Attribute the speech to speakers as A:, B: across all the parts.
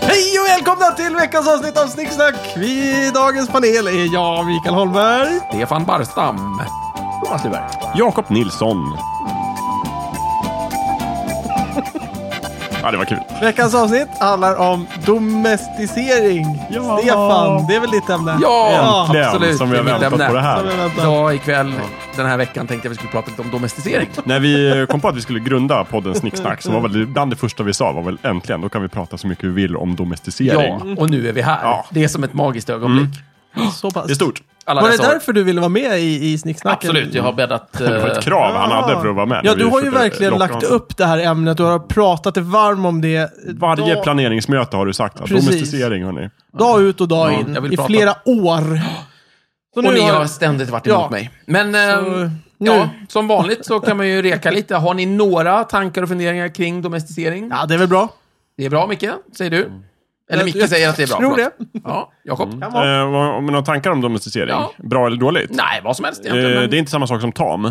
A: Hej och välkomna till veckans avsnitt av Snicksnack! Vi i dagens panel är jag, Mikael Holmberg.
B: Stefan Barstam. Thomas Lyberg.
C: Jakob Nilsson. Ja, det var kul.
A: Veckans avsnitt handlar om domesticering.
C: Ja.
A: Stefan, det är väl ditt ämne?
B: Ja,
C: Äntligen,
B: absolut.
C: som vi har
B: Det är mitt
C: väntat
B: ämne.
C: på det
A: Som jag
C: här.
A: väntar.
B: Idag ikväll, den här veckan, tänkte jag vi skulle prata lite om domesticering.
C: När vi kom på att vi skulle grunda podden Snicksnack, så var väl bland det första vi sa var väl äntligen, då kan vi prata så mycket vi vill om domesticering.
B: Ja, och nu är vi här.
C: Ja. Mm.
B: Det är som ett magiskt ögonblick.
A: Så pass.
C: Det är stort.
B: Alla
A: Var det
B: dessa år.
A: därför du ville vara med i, i Snicksnacken?
B: Absolut, jag har bäddat...
C: Det var
B: eh,
C: ett krav han hade för att vara med.
A: Ja,
C: när vi
A: du har ju
C: försökte
A: verkligen
C: locka
A: lagt
C: honom.
A: upp det här ämnet. Du har pratat dig varm om det.
C: Varje
A: dag,
C: planeringsmöte har du sagt att
A: Precis.
C: domesticering, hörni.
A: dag ut och dag
B: Ja,
A: in.
B: jag vill
A: I
B: prata.
A: flera år. Så
B: eh, Och ni
A: har-
B: har ständigt varit emot
A: Ja.
B: mig. Men ehm,
A: nu.
B: ja, som vanligt så kan man ju reka lite. Har ni några tankar och funderingar kring domesticering?
A: Ja, det är väl bra.
B: Det är bra, Micke, säger du. Eller
A: Jag-
B: Micke
A: jag
B: säger att det är bra.
A: tror Mm.
B: förlåt. Ja, Jakob?
A: Kan vara.
C: Eh, vad- om några tankar om domesticering?
B: Ja.
C: Bra eller dåligt?
B: Nej, vad som helst
C: Eh,
B: egentligen. men-
C: Det är inte samma sak som tam,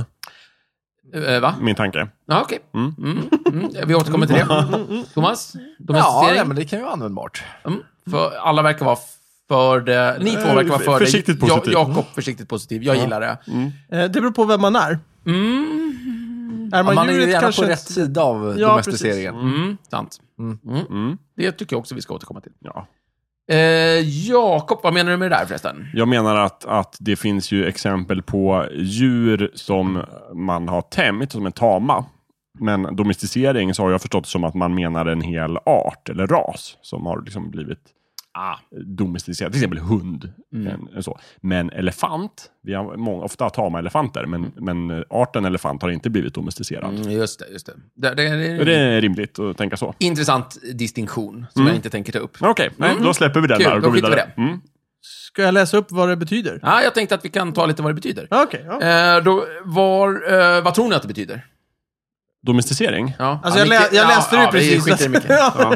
B: Eh, va?
C: min tanke.
B: Ja, okej. Mm. Mm. Vi återkommer till det. Thomas?
D: Ja,
B: Domesticering?
D: ja, men det kan ju vara användbart.
B: Mm. För alla verkar vara för det. Ni två verkar vara för det.
C: Försiktigt positiv.
B: Ja, Jakob försiktigt positiv. Jag gillar det.
A: Eh, Det beror på vem man är. Är man,
D: Man är ju
A: djuret
D: gärna
A: kanske...
D: på rätt sida av
A: Ja,
D: domesticeringen.
B: Mm, sant.
D: Mm.
B: Mm.
C: Mm.
B: Det tycker jag också vi ska återkomma till.
C: Ja.
B: Eh, Jakob, vad menar du med det där förresten?
C: Jag menar att, att det finns ju exempel på djur som man har tämjt, som är tama. Men domesticering så har jag förstått som att man menar en hel art eller ras som har liksom blivit
B: Ah. Mm.
C: domesticerad. Till exempel hund. En, en så. Men elefant, vi har många, ofta tama elefanter, men, men arten elefant har inte blivit domesticerad.
B: Mm, just det, just det. Det, det, det
C: Och
B: är
C: Det
B: en
C: är rimligt att tänka så.
B: intressant distinktion som jag inte tänker ta upp.
C: Men Okej, nej,
B: Mm.
C: då släpper vi den
B: Kul,
C: där och
B: då
C: går
B: skiter vi
C: vidare.
B: i
C: Mm.
A: Ska jag läsa upp vad det betyder?
B: Ah, jag tänkte att vi kan ta lite vad det betyder.
A: Ja, Okej. ja.
B: Eh, då, var, eh, vad tror ni att det betyder?
C: Domesticering?
B: Ja.
A: Alltså,
B: Ja,
A: jag, lä
B: Micke-
A: jag
B: ja,
A: läste
B: ja,
A: det
B: vi
A: precis.
B: skiter i Micke.
A: ja.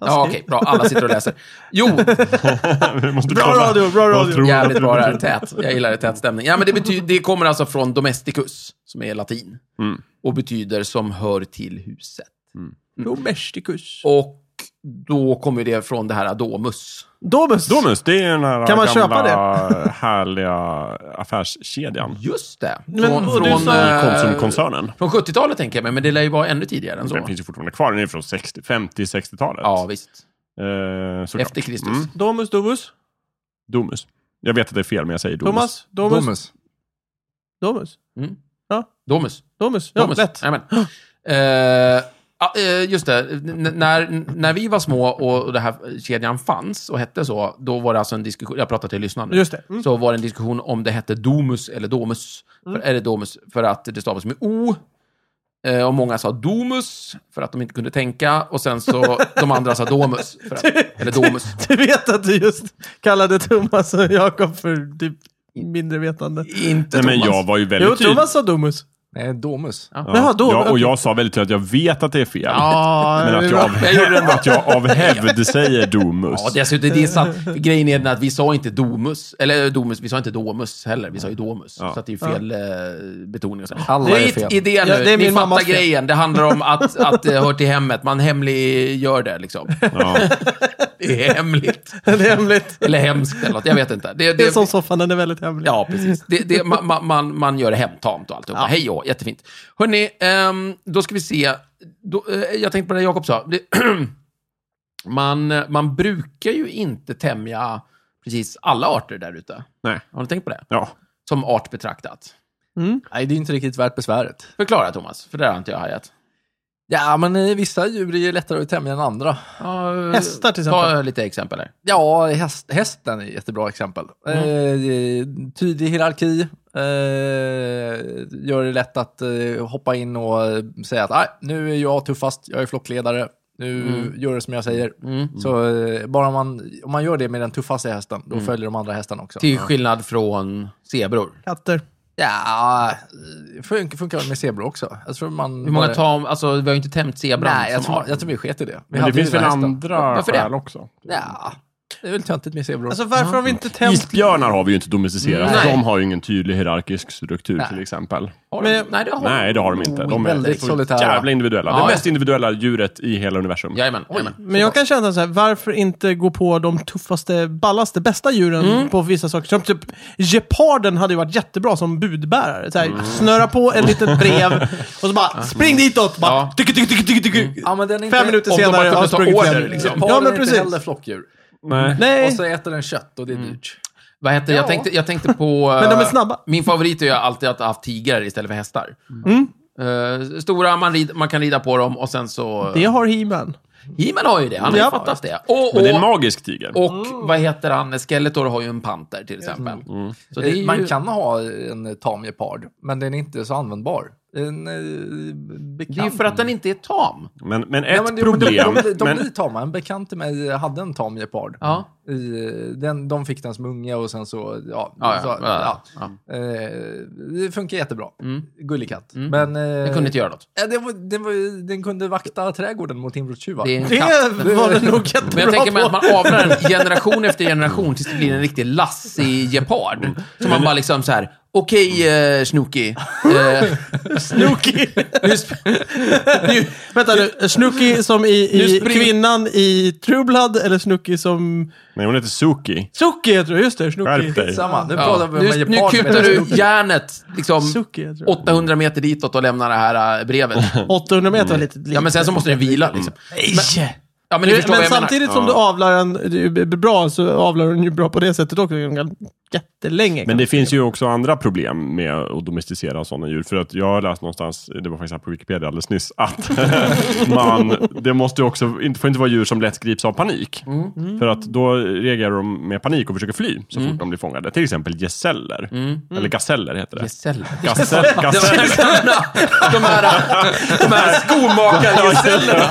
B: Ja, okej, bra. Alla sitter och läser. Jo,
C: Vi måste
A: Bra
C: kolla.
A: radio, bra
C: Vad
A: radio.
C: tror du?
B: Jävligt bra det här. Tät. Jag gillar det. Tät stämning. Ja, men det, betyder, det kommer alltså från domesticus, som är latin.
C: Mm.
B: Och betyder som hör till huset. Mm.
A: Domesticus.
B: Och då kommer det från det här domus.
A: Domus.
C: Domus, det är den här
A: Kan man
C: gamla eh,
A: köpa
C: härliga affärskedjan.
B: Just det. Från,
A: Men- och du
B: från,
A: sa-
C: I
B: eh,
C: Konsumkoncernen.
B: från 70-talet tänker jag mig, men det lär ju vara ännu tidigare än
C: Den
B: så.
C: finns ju fortfarande kvar. Den är från 60, 50-60-talet.
B: Ja, visst.
C: Eh, såklart.
B: Efter Kristus.
C: Mm.
A: Domus, Domus.
C: Domus. Jag vet att det är fel, men jag säger Domus.
A: Thomas. Domus. Domus.
D: Domus.
A: Domus. Domus.
B: Domus.
A: Ja,
B: Domus.
A: lätt.
B: Jajamän. Eh, ja, eh, just det. N- n- när, när vi var små och och den här kedjan fanns och hette så, då var det alltså en diskussion, jag pratar till lyssnarna nu.
A: Just det. Mm.
B: så var det en diskussion om det hette Domus eller Domus. För, är det Domus för att det stavas med O? Eh, och många sa Domus för att de inte kunde tänka. Och sen så de andra sa Domus. För att, eller Domus.
A: Du vet att du just kallade Thomas och Jakob för typ mindre vetande.
B: Inte
C: Nej, men
B: Thomas.
C: jag var ju väldigt
A: Jo,
C: tydlig.
A: Thomas sa Domus.
D: Nej, Domus.
C: Ja.
A: Jaha, Domus.
C: jag, och
A: Okej.
C: jag sa väldigt tydligt att jag vet att det är fel.
A: Ja,
C: Men
A: det
C: att
A: är
C: jag,
A: bra.
C: av,
B: Jag gjorde den bra.
C: att jag av hävd säger Domus.
B: Ja, dessutom det är sant. För Grejen är den att vi sa inte Domus, eller eh, Domus, vi sa inte Domus heller, vi sa ju Domus. Så att det är fel eh, betoning och så.
D: Alla
B: det
D: är
B: ert
D: fel.
B: idé nu,
A: Ja, det är
B: ni
A: min mammas
B: fattar
A: fel.
B: grejen. Det handlar om att, att det hör till hemmet, man hemliggör det liksom.
C: Ja.
B: Det är hemligt.
A: Det är hemligt.
B: Eller hemskt eller något, jag vet inte. Det,
A: Det är
B: det,
A: som soffan, den är väldigt hemlig.
B: ja, precis. Det, det, man- man, man, man gör det hemtamt och alltihopa. Hej och hå, jättefint. Hörni, då ska vi se. Då, eh, jag tänkte på det Jakob sa. Det, man, man brukar ju inte tämja precis alla arter där ute.
C: Nej.
B: Har ni tänkt på det?
C: Ja.
B: Som art betraktat.
D: Nej, det är inte riktigt värt besväret.
B: Förklara Thomas, för det har inte jag hajat.
D: Ja, men eh, vissa djur är ju lättare att tämja än andra.
B: Uh,
A: Hästar till exempel.
B: Ta lite exempel här.
D: Ja, häst, hästen är ett jättebra exempel. Eh, tydlig hierarki. Eh, gör det lätt att eh, hoppa in och eh, säga att "Nej, nu är jag tuffast, jag är flockledare. Nu gör det som jag säger. Så eh, bara man, om man gör det med den tuffaste hästen, då följer de andra hästarna också.
B: Till skillnad från zebror.
A: Katter.
D: Ja, det funkar, funkar väl med zebror också. Jag tror man...
B: Hur många
D: bara-
B: tar, alltså vi har ju inte tämjt zebran
D: Nej, jag
B: som
D: tror,
B: art.
D: jag tror vi sket i det. Vi
C: Men det
D: hade ju
C: finns väl
D: den här hästen.
C: andra
B: Varför det?
C: skäl också?
D: Ja, det är väl töntigt med zebror.
A: Alltså varför har vi inte tänt...
C: Isbjörnar har vi ju inte domesticerat.
B: Nej.
C: för De har ju ingen tydlig hierarkisk struktur
D: Nej.
C: till exempel.
B: Har de- nej, det har de.
C: Nej, det har de inte. De är
D: väldigt
C: så
D: solitära.
C: jävla individuella.
B: Ja,
C: det
B: ja.
C: mest individuella djuret i hela universum.
B: Jajamän, jajamän.
A: Men jag kan känna så här, varför inte gå på de tuffaste, ballaste, bästa djuren
B: Mm.
A: på vissa saker? Som typ, geparden hade ju varit jättebra som budbärare. Så här,
B: Mm.
A: Snöra på ett litet brev och så bara, spring ditåt! Bara,
B: Ja. Mm.
A: tycke, tycke, tycke, tycke, tycke.
D: Ja, men den är
A: Fem minuter
B: Om de
A: senare
B: bara
A: har
B: kunde ta
A: sprungit
B: order,
A: fram.
B: liksom.
D: Ja,
A: Ja,
D: men
A: men
D: är inte heller
A: precis.
D: flockdjur.
C: Nej.
D: Och
A: Nej,
D: så äter den kött och det är dyrt.
B: Vad heter,
D: Ja.
B: jag, tänkte, jag tänkte på...
A: Men de är
B: eh,
A: snabba.
B: Min favorit är ju alltid att ha haft tigrar istället för hästar. Eh, stora, man, rid, man kan rida på dem och sen så...
A: det har He-Man.
B: He-Man har ju det, han har ju
A: Ja.
B: fattat det. Och,
C: Men det är en
B: och,
C: magisk tiger.
B: och vad heter han, Skeletor har ju en panter till exempel. Eh, Så det är ju...
D: Man kan ha en tam gepard, men den är inte så användbar. En, eh, bekant.
B: Det är ju för att den inte är tam.
C: Men, men
D: Nej,
C: ett
D: men det-
C: problem...
D: De, de, de
C: men-
D: blir tama. En bekant till mig hade en tam gepard.
B: Ja.
D: I, eh, den, de fick den som unge och sen så... Ja,
B: Ja,
D: så,
B: ja, ja,
D: Eh, det funkar jättebra. Gullig katt.
B: Mm.
D: Men... eh,
B: Den kunde inte göra något.
D: Ja, den, var, den, var, den kunde vakta trädgården mot inbrottstjuvar.
B: Det är en
A: Det
B: katt.
A: var det nog
B: Men jag
A: jättebra
B: tänker mig
A: på.
B: att man avlar den generation efter generation tills det blir en riktig lassig gepard. Som man bara liksom så här, okej eh, Snooki. Eh,
A: Snooki.
B: nu sp-
A: Nu- Vänta nu, Snooki som i, i
B: Nu spring-
A: kvinnan i True Blood eller Snooki som...
C: Nej, hon heter Suki.
A: Suki heter det, just det. Snooki.
C: Skärp dig.
D: Samma, nu pratar
B: ja,
D: vi om en
B: nu, nu
D: gepard.
B: kutar
D: med-
B: du järnet liksom
A: Suki heter det.
B: 800 meter ditåt och lämnar det här eh, brevet.
A: 800 meter var lite lite.
B: Ja, men sen så måste den vila liksom.
A: Nej!
B: Ja, men ni
A: Eh, Men,
B: förstår vad jag menar.
A: samtidigt som du avlar en det är ju b- bra, så avlar den ju bra på det sättet också. Den kan Jättelänge.
C: Men det finns ju också andra problem med att domesticera sådana djur. För att jag har läst någonstans, det var faktiskt här på Wikipedia alldeles nyss, att man, det måste ju också, inte, får inte vara djur som lätt grips av panik.
D: Mm.
C: För att då reagerar de med panik och försöker fly så
D: Mm.
C: fort de blir fångade. Till exempel geseller. Eller gaseller heter det.
B: Gesäll.
C: Gasell, gasell.
B: De här, de här skomakargesällerna.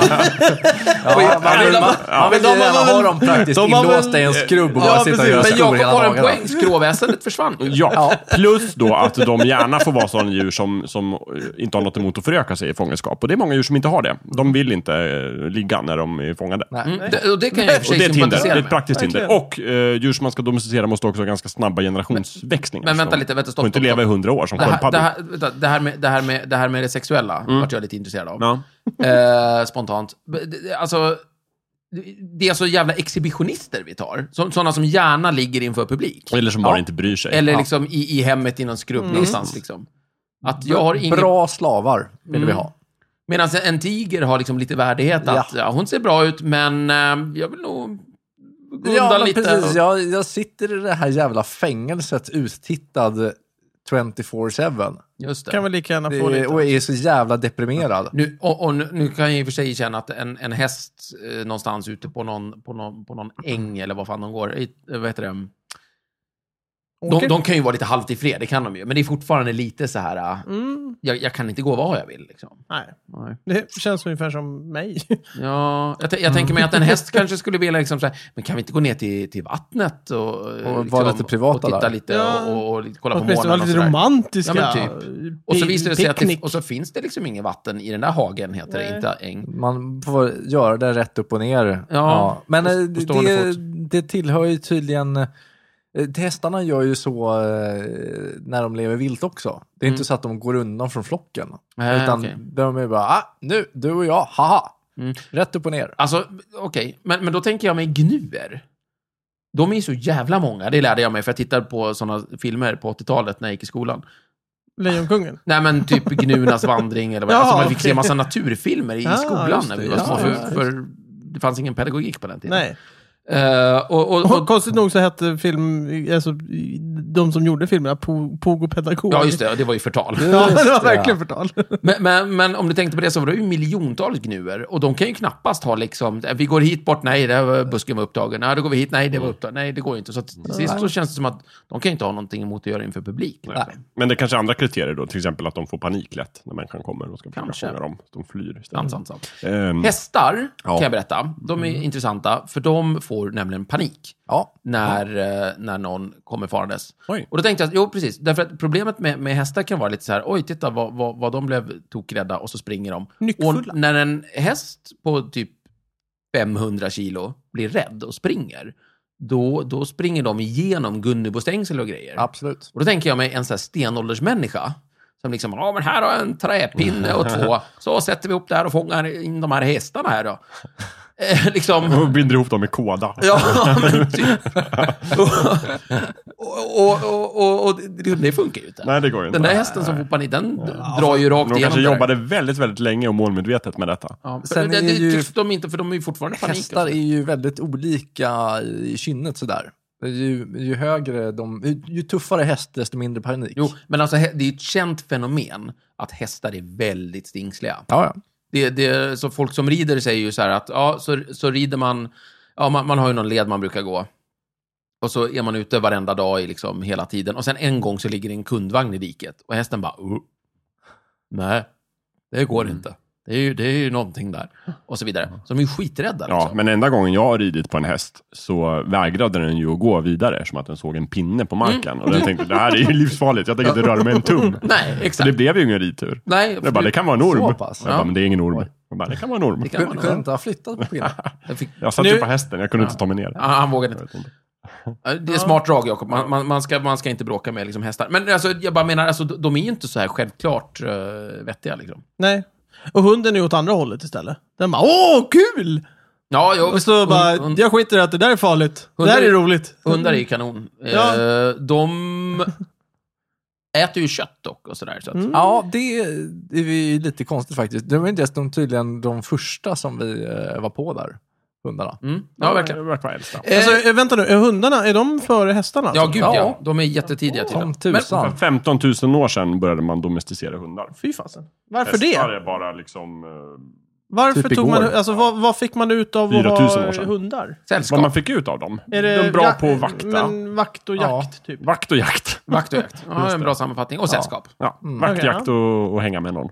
D: Ja, man vill,
B: Ja,
D: man, man vill
A: de har
D: gärna
A: väl-
D: ha dem praktiskt
A: de har väl-
D: inlåsta i en skrubb och bara
A: Ja,
D: sitta och
A: precis.
D: göra
A: Men
B: Men
D: skor
B: Jakob
D: hela
B: har en
D: dagarna.
B: poäng. Skråväsendet försvann ju.
C: Ja, plus då att de gärna får vara sådana djur som, som eh, inte har något emot att föröka sig i fångenskap. Och det är många djur som inte har det. De vill inte eh, ligga när de är fångade.
D: Nej.
B: Mm, det, och det kan jag i och för
C: Och
B: sig
C: det är ett hinder. Det
B: sympatisera
C: är ett
B: med.
C: praktiskt hinder. Och eh, djur som man ska domesticera måste också ha ganska snabba generationsväxlingar.
B: men
C: Så
B: vänta
C: de
B: lite, vänta, stopp,
C: Får inte
B: stopp,
C: leva i
B: stopp.
C: hundra år som
B: Det här, det,
C: sköldpaddor.
B: här, vänta, det, här med, det, här med, det här med det sexuella vart jag lite intresserad av.
C: Ja.
B: Eh, spontant. B- det- det- Alltså, det- det är så jävla exhibitionister vi tar. Så, sådana som gärna ligger inför publik.
C: Eller som bara inte bryr sig.
B: Eller liksom i, i hemmet i någon skrubb någonstans. Liksom. Att jag har ingen... Mm.
D: Bra slavar vill vi ha.
B: Medan en tiger har liksom lite värdighet. Att, ja. hon ser bra ut, men eh, jag vill nog gå
D: Ja,
B: undan
D: men
B: lite.
D: precis. Jag, jag sitter i det här jävla fängelset uttittad 24-7.
B: Just det.
A: kan väl lika gärna
D: Det-
A: få lite.
D: Och är så jävla deprimerad.
B: Nu, och, och nu, nu kan jag i och för sig känna att en, en häst eh, någonstans ute på någon, på, någon, på någon äng eller vad fan de går, i, eh, vad heter det? De,
A: Åker.
B: de kan ju vara lite halvt i fred, det kan de ju. Men det är fortfarande lite så här, eh,
A: Mm,
B: jag, jag kan inte gå vad jag vill. Liksom.
A: nej, det känns ungefär som mig.
B: Ja, jag, tän- jag tänker mig att en
D: Mm.
B: häst kanske skulle vilja, liksom så här, men kan vi inte gå ner till, till vattnet och, eh,
D: Och vara
B: liksom,
D: lite privata
B: och titta
D: där?
B: lite
A: Ja.
B: och, och, och lite kolla på
A: Åtminstone vara
B: månen och
A: lite
B: sådär.
A: romantiska.
B: Ja, men typ. Och så visar det sig att det,
A: Picknick.
B: och så finns det liksom inget vatten i den där hagen, heter det,
A: Nej.
B: inte äng.
D: Man får göra det rätt upp och ner. Ja, Men
B: på-
D: eh,
B: på stående
D: det,
B: fot.
D: det tillhör ju tydligen... eh, Hästarna gör ju så eh, när de lever vilt också. Det är inte så att de går undan från flocken.
B: Mm. Nej,
D: utan
B: okej.
D: de är bara, ah, nu, du och jag, haha.
B: Mm.
D: Rätt upp och ner.
B: Alltså, okej, men, men då tänker jag mig gnuer. De är ju så jävla många, det lärde jag mig för jag tittade på sådana filmer på 80-talet när jag gick i skolan.
A: Lejonkungen.
B: Nej men typ Gnuernas vandring eller vad
A: Ja,
B: alltså, man fick
A: okej.
B: se massa naturfilmer i
A: Ja,
B: skolan
A: just
B: när
A: det,
B: vi var
A: ja,
B: små,
A: ja,
B: för, för det fanns ingen pedagogik på den tiden.
A: Nej.
B: Eh, och, och,
A: Och
B: och,
A: konstigt nog så hette film, alltså, de som gjorde filmerna Po- Pogopedagog.
B: ja, just det, det var ju förtal.
A: Ja, det var
D: Just det.
A: verkligen förtal.
B: Men, men, men om du tänkte på det så var det ju miljontals gnuer och de kan ju knappast ha liksom, vi går hit bort, nej, det här var, busken var upptagen, nej, då går vi hit, nej, det
A: Mm.
B: var upptagen, nej, det går ju inte. Så till sist så känns det som att de kan ju inte ha någonting emot att göra inför publik. Alltså, Nej.
C: Men det är kanske är andra kriterier då. Till exempel att de får panik lätt när människan kommer och ska försöka
B: Kanske.
C: fånga dem. De flyr
B: Sant,
C: istället.
B: sant, sant.
A: Mm.
C: Ehm,
B: Hästar
C: Ja.
B: kan jag berätta, de är intressanta, för de får nämligen panik
D: Ja.
B: när, eh, när någon kommer farandes.
C: Oj.
B: Och då tänkte jag, jo precis, därför att problemet med, med hästar kan vara lite så här, oj titta vad, vad, vad de blev tokrädda och så springer de.
A: Nyckfulla.
B: Och när en häst på typ 500 kilo blir rädd och springer, då, då springer de igenom Gunnebostängsel och grejer.
D: Absolut.
B: Och då tänker jag mig en sån här stenåldersmänniska. Som liksom, ja men här har jag en träpinne och två. Så sätter vi upp det här och fångar in de här hästarna här då. Eh, liksom.
C: Och binder ihop dem med kåda.
B: Ja, men typ. Och, och, och, och, och det, det funkar ju inte.
C: Nej, det går ju inte. alltså,
B: Den där hästen som hoppar i den drar ju rakt
C: De
B: igenom
C: kanske
B: det där.
C: jobbade väldigt, väldigt länge och målmedvetet med detta.
B: Ja,
D: Sen
B: det,
D: är
B: det
D: ju-
B: tycks de inte, för de är ju fortfarande i panik. alltså.
D: Hästar är ju väldigt olika i kinnet sådär. Ju, ju högre de, ju, ju tuffare häst, desto mindre panik.
B: Jo, men alltså hä- det är ju ett känt fenomen att hästar är väldigt stingsliga.
D: Ja, ja.
B: Det, det, så folk som rider säger ju så här att, ja, så, så rider man, ja, man, man har ju någon led man brukar gå. Och så är man ute varenda dag i liksom hela tiden. Och sen en gång så ligger det en kundvagn i diket och hästen bara, "Uh, nej, det går
C: Mm.
B: inte. Det är, ju, det är ju någonting där. Och så vidare. Så de är ju skiträdda.
C: Ja,
B: liksom.
C: men enda gången jag har ridit på en häst så vägrade den ju att gå vidare eftersom att den såg en pinne på marken. Och den tänkte, det här är ju livsfarligt, jag tänker inte röra mig en tum.
B: Mm. Nej,
C: Så
B: exakt.
C: det blev ju ingen ridtur.
B: Nej,
C: Jag bara, det kan vara en
D: Så
C: orm.
D: pass.
C: Jag bara, men det är ingen orm. Jag bara, det kan vara en orm.
B: Det kan
D: Kunde
B: man
D: kunde
B: ha.
D: inte ha flyttat på skinnet.
B: Jag fick-
C: Jag satt ju
A: Nu-
C: på hästen, jag kunde inte ta mig ner.
B: Ja, han vågade inte.
C: Jag vet inte.
B: Ja, Det är smart drag, Jakob. Man, man, man, ska, man ska inte bråka med liksom, hästar. Men alltså, jag bara menar, alltså, de de är ju inte så här självklart uh, vettiga. Liksom.
A: Nej. Och hunden är åt andra hållet istället. Den bara åh, kul!
B: Ja, jo,
A: Och så bara,
B: hund-
A: jag skiter i att det där är farligt. Det
B: Hundar
A: där
B: är-
A: är roligt.
B: Hundar är ju kanon.
A: Ja.
B: Eh, de äter ju kött dock och sådär. Så att,
D: Ja, det är ju lite konstigt faktiskt. Det var inte ens de, tydligen de första som vi eh, var på där, hundarna.
B: mm. Ja, verkligen.
C: Det verkar vara äldsta.
B: Eh,
A: Alltså, eh, vänta nu, är hundarna, är de före hästarna?
B: ja,
A: alltså?
B: gud ja.
D: ja.
B: De är jättetidiga till
D: Som
B: det.
D: tusan.
C: För 15 000 år sedan började man domesticera hundar.
A: Fy fasen. Varför
C: Hästar
A: det?
C: är bara liksom... eh,
A: Varför
D: Typ
A: tog man,
D: igår.
A: alltså vad, vad fick man ut av att
C: 4000 år
A: ha
C: sedan.
A: hundar?
B: Sällskap,
C: Vad man fick ut av dem.
A: Är
C: De är bra
A: ja,
C: på att vakta.
A: Men vakt och
D: Ja.
A: jakt, typ.
C: Vakt och jakt.
B: vakt och jakt. Ja, en bra sammanfattning. Och sällskap.
C: Ja, vakt,
A: Mm. Okej,
C: jakt och, och hänga med någon.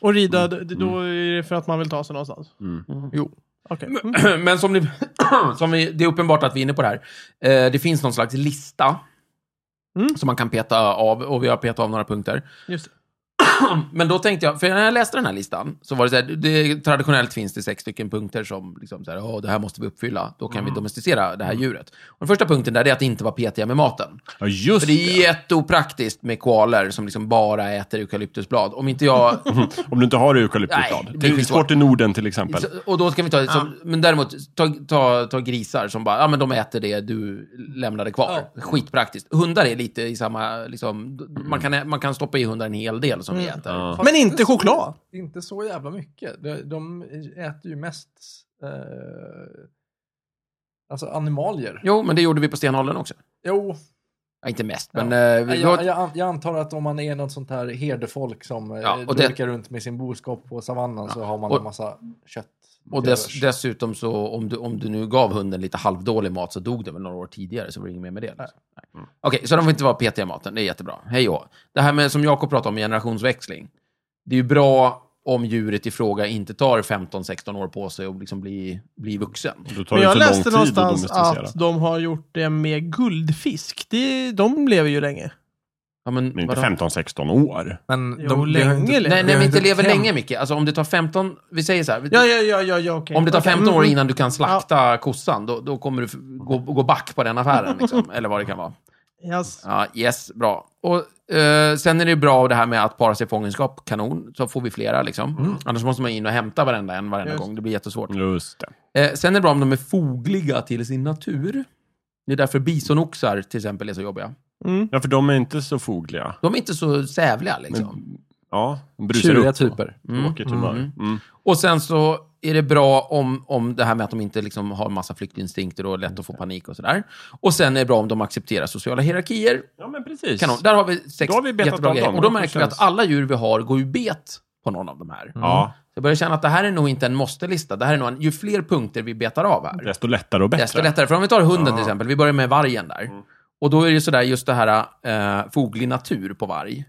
A: Och rida,
B: Mm.
A: d- då är det för att man vill ta sig någonstans.
C: Mm.
D: Jo.
A: Okej.
B: Mm.
A: Mm,
B: Men som, ni, som vi, det är uppenbart att vi är inne på det här. Eh, det finns någon slags lista
A: Mm.
B: som man kan peta av, och vi har petat av några punkter.
A: Just det.
B: Men då tänkte jag, för när jag läste den här listan, så var det så här, det, traditionellt finns det sex stycken punkter som liksom så här, "Åh, det här måste vi uppfylla, då kan
C: Mm.
B: vi domesticera det här djuret. Och den första punkten där det är att inte vara petiga med maten.
C: Ja, just
B: För det är jätteopraktiskt med koaler som liksom bara äter eukalyptusblad. Om inte jag...
C: Om du inte har
B: Nej,
C: eukalyptusblad.
B: det är
C: Tänk
B: skitsvårt.
C: sport i Norden till exempel.
B: Och då ska vi ta... Som, Men däremot, ta, ta, ta grisar som bara, ja men de äter det du lämnade kvar. Skitpraktiskt. Hundar är lite i samma, liksom, man, kan, ä- man kan stoppa i hundar en hel del som vi äter.
C: Mm. Ja.
A: Mm. Men inte choklad.
D: Inte så jävla mycket. De, de äter ju mest eh, alltså animalier.
B: Jo, men det gjorde vi på Stenhollen också.
D: Jo,
B: Ja, inte mest,
D: Ja.
B: men... eh, vi-
D: jag, jag, an- jag antar att om man är något sånt här herdefolk som eh,
B: Ja, och det-
D: lurkar runt med sin boskap på savannen så har man
B: och-
D: en massa kött.
B: Och
D: till
B: dess,
D: övers.
B: dessutom så, om du, om du nu gav hunden lite halvdålig mat så dog den väl några år tidigare, så var det inget mer med det. Liksom. Nej. Okej, så de får inte vara petiga i maten. Det är jättebra. Hej och hå. Det här med, som Jakob pratade om, generationsväxling. Det är ju bra om djuret i fråga inte tar 15-16 år på sig och liksom bli, bli vuxen.
C: Då tar
A: Men
C: det
A: jag
C: för lång
A: läste
C: tid att
A: någonstans
C: domesticera.
A: att de har gjort det med guldfisk. Det, de lever ju länge.
B: Ja, men,
C: Men inte
B: vadå?
C: 15-16 år.
D: Men
A: Jo,
D: de, det har
A: länge
D: inte-
A: lever
B: Nej, nej, men
D: har
B: inte lever
D: tänt-
B: länge, Micke. Alltså om det tar 15, vi säger så här.
A: Ja, ja, ja, ja, ja okej.
B: Om det tar
A: Okej,
B: 15 år
A: mm,
B: innan du kan slakta kossan, då, då kommer du f- gå, gå back på den affären. Liksom, eller vad det kan vara.
A: mm, yes.
B: Ja, yes, bra. Och eh, sen är det ju bra det här med att para sig i fångenskap, kanon. Så får vi flera liksom. Annars måste man in och hämta varenda en varenda
A: Just.
B: gång. Det blir jättesvårt.
C: Just det.
B: Eh, sen är det bra om de är fogliga till sin natur. Det är därför bisonoxar till exempel är så jobbiga.
C: Ja, för de är inte så fogliga.
B: De är inte så sävliga liksom.
C: Ja, de brusar
D: Tjuriga
C: upp.
A: typ.
D: typer.
C: Tråkigt humör. Mm.
B: Och sen så är det bra om, om det här med att de inte liksom har massa flyktinstinkter och lätt att få panik och sådär. Och sen är det bra om de accepterar sociala hierarkier.
C: Ja, men precis.
B: Kanon. Där har vi sex
C: Då har vi betat
B: jättebra
C: av
B: grejer.
C: dem.
B: Och då
C: Det
B: märker vi
C: känns-
B: att alla djur vi har går ju bet på någon av de här.
C: Mm. Ja,
B: Jag börjar känna att det här är nog inte en måste-lista. Det här är nog en, ju fler punkter vi betar av här,
C: desto lättare och bättre.
B: desto lättare. För om vi tar hunden till exempel, vi börjar med vargen där.
C: Mm.
B: Och då är det ju sådär just det här eh, foglig natur på varg.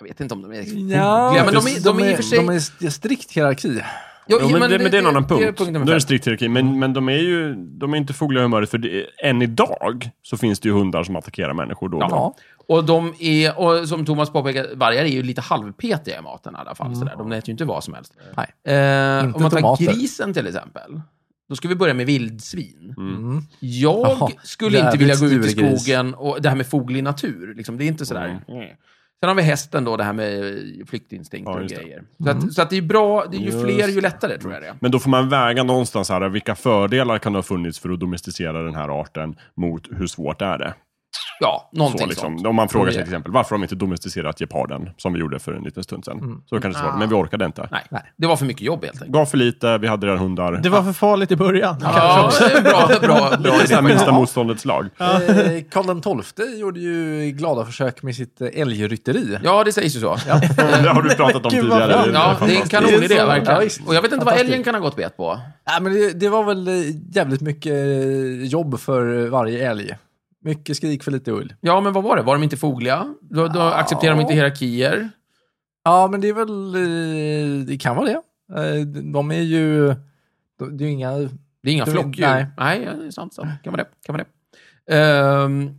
B: Jag vet inte om de är fogliga, men de är, de är i och för sig...
D: de är strikt hierarki.
B: Jo,
C: Jo, men, det, men det är en annan punkt.
B: Det är punkt nummer
C: Då är
B: fem. Mm.
C: det strikt hierarki. Men, men de är ju de är inte fogliga i humöret, för det, än idag så finns det ju hundar som attackerar människor då.
B: Ja. Och de är, och som Thomas påpekade, vargar är ju lite halvpetiga i maten i alla fall. Sådär. De äter ju inte vad som helst.
D: Nej.
B: Eh,
D: Inte
B: om man tar
D: tomater.
B: grisen till exempel, Då ska vi börja med vildsvin.
D: Mm.
B: Jag
D: Jaha,
B: skulle inte
D: jävligt
B: vilja gå ut i
D: sturegris.
B: skogen och det här med foglig natur, liksom, det är inte sådär.
D: Mm.
B: Sen har vi hästen då, det här med eh, flyktinstinkter
C: Mm. Ja,
B: och
C: just det.
B: grejer. Så
D: Mm.
B: att, så att det är bra, det är ju
C: Just
B: fler ju lättare tror jag det är.
C: Men då får man väga någonstans här, vilka fördelar kan det ha funnits för att domesticera den här arten mot hur svårt är det?
B: Ja, någonting
C: så, liksom.
B: sånt.
C: Om man frågar
B: Ja.
C: sig till exempel, varför har de inte domesticerat geparden, som vi gjorde för en liten stund sedan? Så kan det svara, men vi orkade inte.
B: Mm. Ah. Nej, det var för mycket jobb helt enkelt.
C: Gav för lite, vi hade redan hundar.
A: Det var för farligt i början.
B: Ja, det är bra, bra, bra.
C: det är minsta motståndets lag.
D: Eh, Karl XII gjorde ju glada försök med sitt eh, älgrytteri.
B: Ja, det sägs ju så. Ja,
C: Det har du pratat om
A: Gud, vad
C: tidigare.
A: bra.
B: ja
C: är
B: det är en
C: fantastiskt.
B: kanonidé
D: Det är så- ja,
B: verkligen.
D: visst.
B: Och jag vet inte vad
D: Fantastiskt.
B: älgen kan ha gått bet på.
D: Nej, men det, det var väl eh, jävligt mycket eh, jobb för varje älg. Mycket skrik för lite ull.
B: Ja, men vad var det? Var de inte fogliga? Då, då accepterar de inte hierarkier.
D: Ja, men det är väl... eh, Det kan vara det. Eh, De är ju... de- Det är ju inga...
B: Det är inga
D: Det-
B: flockdjur. Nej.
D: nej.
B: ja, det är sant. sant. Kan vara det. Kan vara det. Ehm,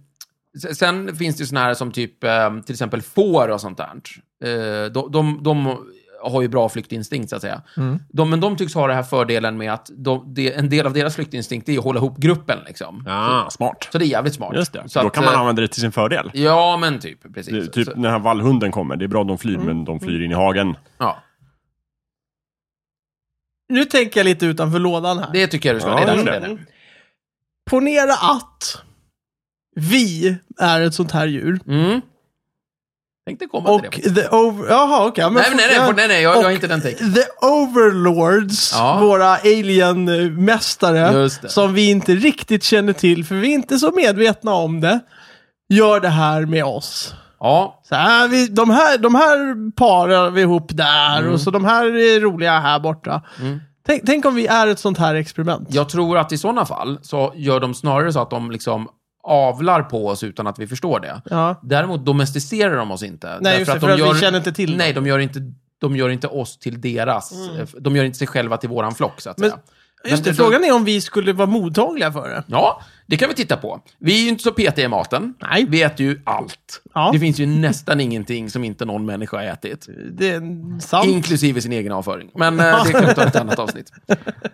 B: se- sen finns det ju såna här som typ ehm, till exempel får och sånt där. Eh, de, de, de har ju bra flyktinstinkt, så att säga.
C: Mm.
B: De, men de tycks ha den här fördelen med att de, det- en del av deras flyktinstinkt är att hålla ihop gruppen. Liksom.
C: Ah, smart.
B: Så det är jävligt smart.
C: Just det.
B: Så
C: då
B: att,
C: kan man
B: eh,
C: använda det till sin fördel.
B: Ja, men typ. Precis.
C: Det, typ
B: Så- Mm.
C: när den här vallhunden kommer, det är bra de flyr, men de flyr in i hagen.
B: ja.
A: Nu tänker jag lite utanför lådan här.
B: Det tycker jag du ska.
C: Ja,
B: det är
C: just
B: det.
C: det.
B: Mm.
A: Ponera att vi är ett sånt här djur.
B: Mm. Tänkte komma
A: Och
B: till det.
A: the over... Jaha, okej. ja, men
B: Nej, men nej, nej, nej, nej, jag, jag har inte den taken.
A: The Overlords,
B: Ja.
A: våra alien-mästare,
B: Just det.
A: som vi inte riktigt känner till, för vi är inte så medvetna om det, gör det här med oss.
B: Ja,
A: Så här, vi, de, här, de här parar vi ihop där,
B: Mm.
A: och så de här är roliga här borta. Tänk, tänk om vi är ett sånt här experiment.
B: Jag tror att i sådana fall så gör de snarare så att de liksom avlar på oss utan att vi förstår det.
A: Ja.
B: Däremot domesticerar de oss inte.
A: Nej, just det, för att vi känner inte till
B: Nej,
A: dem. Mm.
B: de gör inte, de gör inte oss till deras. eh, De gör inte sig själva till våran flock, så att
A: Men-
B: säga.
A: Just det,
B: Men-
A: frågan är om vi skulle vara mottagliga för det.
B: Ja, det kan vi titta på. Vi är ju inte så petiga i maten.
A: Nej.
B: Vi äter ju allt.
A: Ja.
B: Det finns ju nästan ingenting som inte någon människa har ätit.
A: Det är sant.
B: Inklusive sin egen avföring. Men eh, det kan vi ta i ett annat avsnitt.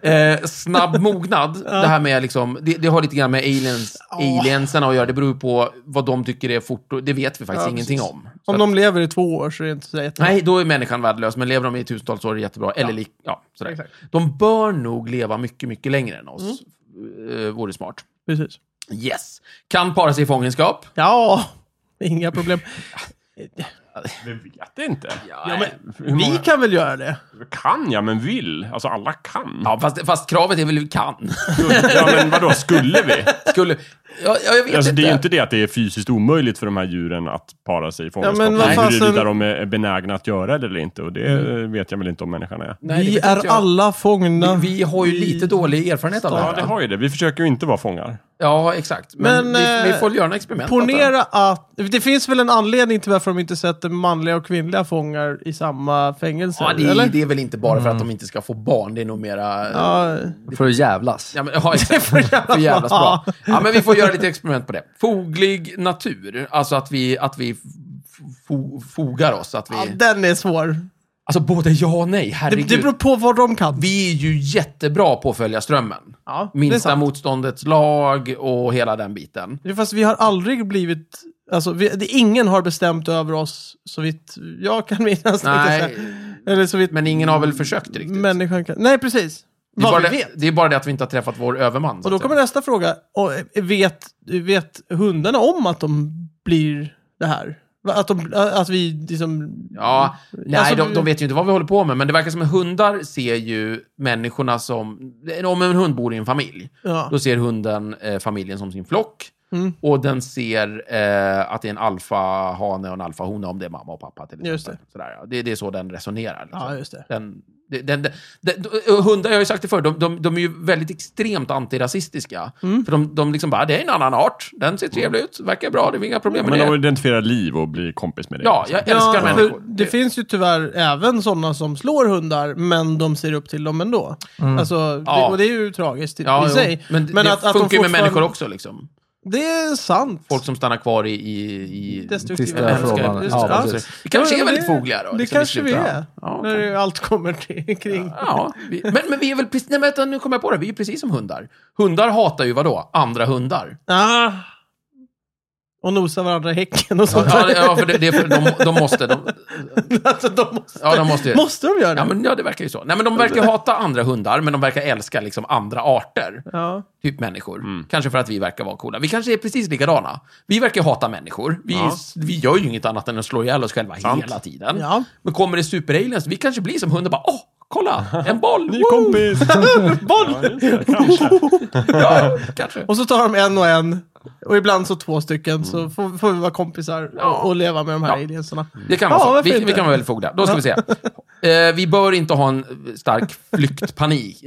B: Eh, snabb mognad, det här med liksom, det, det har lite grann med aliens, aliensen att göra. Det beror ju på vad de tycker är fort. och- Det vet vi faktiskt
A: Ja,
B: ingenting
A: precis.
B: om. Så
A: Om
B: att-
A: de lever i två år så är det inte så jättebra.
B: Nej, då är människan värdelös, men lever de i tusentals år är det jättebra. Eller lik, ja, sådär.
A: Exakt.
B: De bör nog leva mycket, mycket längre än oss. Mm. Vore smart.
A: Precis.
B: Yes. Kan para sig i fångenskap.
A: Ja, inga problem.
C: Det vet jag inte.
A: Ja, men,
C: Hur många-
A: vi kan väl göra det?
C: Kan jag, men vill. Alltså alla kan.
B: Ja, fast, fast kravet är väl vi kan.
C: Ja, men vadå, skulle vi?
B: Skulle... Ja, ja, jag vet
C: Alltså,
B: inte.
C: det är ju inte det att det är fysiskt omöjligt för de här djuren att para sig i fångenskap.
A: men vad
C: det är
A: fasen-
C: huruvida de är benägna att göra det eller inte. Och det eh, vet jag väl inte om människan är.
B: Nej, det
A: vi
B: vet
A: är
B: inte jag.
A: alla fångna.
B: Vi, vi har ju lite dålig erfarenhet av det
C: Ja,
B: här.
C: det har ju det. Vi försöker ju inte vara fångar.
B: Ja, exakt. Men,
A: Men,
B: vi,
A: eh,
B: vi får göra några experiment. antar
A: Ponera att... Det finns väl en anledning till varför de inte sätter manliga och kvinnliga fångar i samma fängelse?
B: jag. Ja, det,
A: eller?
B: är- det är väl inte bara för att de inte ska få barn. Det är nog mera... Ja,
A: Ja,
D: För att jävlas.
B: men, ja exakt. för jävla, bra. Ja, men vi får göra lite experiment på det. Foglig natur. Alltså att vi, att vi f- fo, fogar oss. Att vi,
A: ja, den är svår.
B: Alltså både ja och nej.
A: Det,
B: Herregud.
A: det beror på vad de kan.
B: Vi är ju jättebra på att följa strömmen.
A: Ja, det är
B: Minsta
A: sant.
B: motståndets lag och hela den biten.
A: Det är Fast vi har aldrig blivit... Alltså, vi, det, ingen har bestämt över oss, så vitt jag kan minnas. tänkte jag
B: Nej,
A: säga. Eller så vitt
B: men ingen har väl försökt riktigt.
A: människan kan... Nej, precis.
B: det, är
A: Vad
B: bara
A: vi
B: det,
A: vet.
B: det är bara det att vi inte har träffat vår överman. så
A: Och då
B: att säga.
A: kommer nästa fråga. Och eh, vet, vet hundarna om att de blir det här? Va, Att, de, att vi liksom...
B: Ja, nej,
A: Alltså,
B: de, de vet ju inte vad vi håller på med, men det verkar som att hundar ser ju människorna som... Om en hund bor i en familj,
A: Ja. Mm.
B: då ser hunden eh, familjen som sin flock. Och den ser eh, att det är en alfahane och en alfahona om det är mamma och pappa. Till exempel.
A: Just det.
B: Sådär, ja. det, det är så den resonerar. liksom.
A: Ja, just det.
B: Den, den, den, den, och hundar, jag har ju sagt det förr, de, de, de är ju väldigt extremt antirasistiska.
A: Mm.
B: För de, de liksom bara, det är en annan art, den ser trevlig ut, verkar bra, det är inga problem med
C: Men de
B: det.
C: identifierar liv och blir kompis med det. Alltså,
B: Ja, jag älskar
A: Ja, för
B: människor.
A: det finns ju tyvärr även sådana som slår hundar, men de ser upp till dem ändå. Alltså,
B: Ja.
D: Mm.
A: det, och det är ju tragiskt i,
B: Ja,
A: i
B: jo.
A: sig.
B: Men, det- det
A: att- att de
B: funkar ju med
A: fortfarande-
B: människor också. Liksom.
A: Det är sant.
B: Folk som stannar kvar i... i, i
A: Destruktiva
B: i hemska-
D: förhållanden.
B: just det.
D: Ja,
B: Ja,
D: precis.
B: Vi kanske är
A: men
B: väldigt
A: det-
B: fogliga då.
A: Det
B: liksom, i
A: kanske vi
B: slutet.
A: är.
B: Ja,
A: när allt kommer till, kring.
B: Ja, vi, men, men vi är väl precis... Nej, men vänta, nu kommer jag på det. Vi är precis som hundar. Hundar hatar ju vadå? Andra hundar.
A: Ah. Och nosa varandra i häcken och sånt
B: Ja,
A: där.
B: det- ja för det, det är för, de, de måste... De,
A: alltså, de måste,
B: ja, de måste ju...
A: måste de göra det?
B: Ja, men, ja, det verkar ju så. Nej, men de verkar ju hata andra hundar, men de verkar älska liksom andra arter.
A: Ja.
B: Typ människor.
C: Mm.
B: Kanske för att vi verkar vara coola. Vi kanske är precis likadana. Vi verkar hata människor. Vi,
C: Ja.
B: vi gör ju inget annat än att slå ihjäl oss själva
C: Sant.
B: hela tiden.
A: Ja.
B: Men kommer det superaliens, vi kanske blir som hundar bara åh, kolla, en boll!
C: Ny
B: woo!"
C: kompis!
A: Boll!
C: Ja, just det, kanske.
B: Ja, kanske.
A: Och så tar de en och en. Och ibland så två stycken. Så får, får vi vara kompisar och, och leva med de här
B: Mm. Ja.
A: aliensarna.
B: Det kan
A: Ja,
B: vara så.
A: varför
B: Vi,
A: inte?
B: vi kan vara väldigt fogda. Då ska vi se. Eh, vi bör inte ha en stark flyktpanik,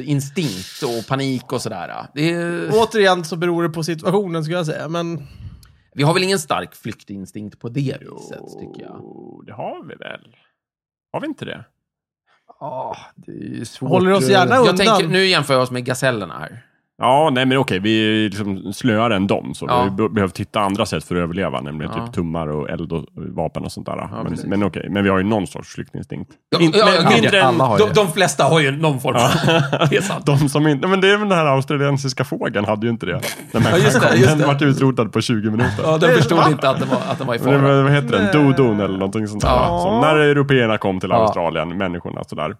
B: flyktinstinkt och panik och sådär. Det är,
A: Och Återigen så beror det på situationen skulle jag säga. Men
B: vi har väl ingen stark flyktinstinkt på det viset, tycker jag.
C: Jo, Oh, det har vi väl? Har vi inte det?
D: Ah, det är ju svårt.
A: håller oss gärna
B: Jag
A: undan.
B: tänker, nu jämför jag oss med gasellerna här.
C: Ja, nej men okej, vi är liksom slöare än dem. Så
B: Ja.
C: vi be- behöver hitta andra sätt för att överleva, nämligen
B: Ja.
C: typ tummar och eld och vapen och sånt där. men
B: precis.
C: men okej, men vi har ju någon sorts flyktinstinkt.
B: Ja,
C: Inte-
B: ja,
C: men
B: ja,
C: mindre
B: ja.
C: än-
D: Alla har ju
B: De,
D: det.
B: de flesta har ju någon form av... Det är sant.
C: De som inte, men det är väl den här australiensiska fågeln hade ju inte det. När människan
B: just det,
C: kom.
B: just
C: den
B: det.
C: vart utrotad på 20 minuter.
B: Ja, de förstod inte att den var, att den var i
C: Men det
B: fara.
C: var- vad heter den? Dodon eller någonting sånt där.
B: Ja.
C: va? Som när européerna kom till
D: Ja.
C: Australien, människorna sådär.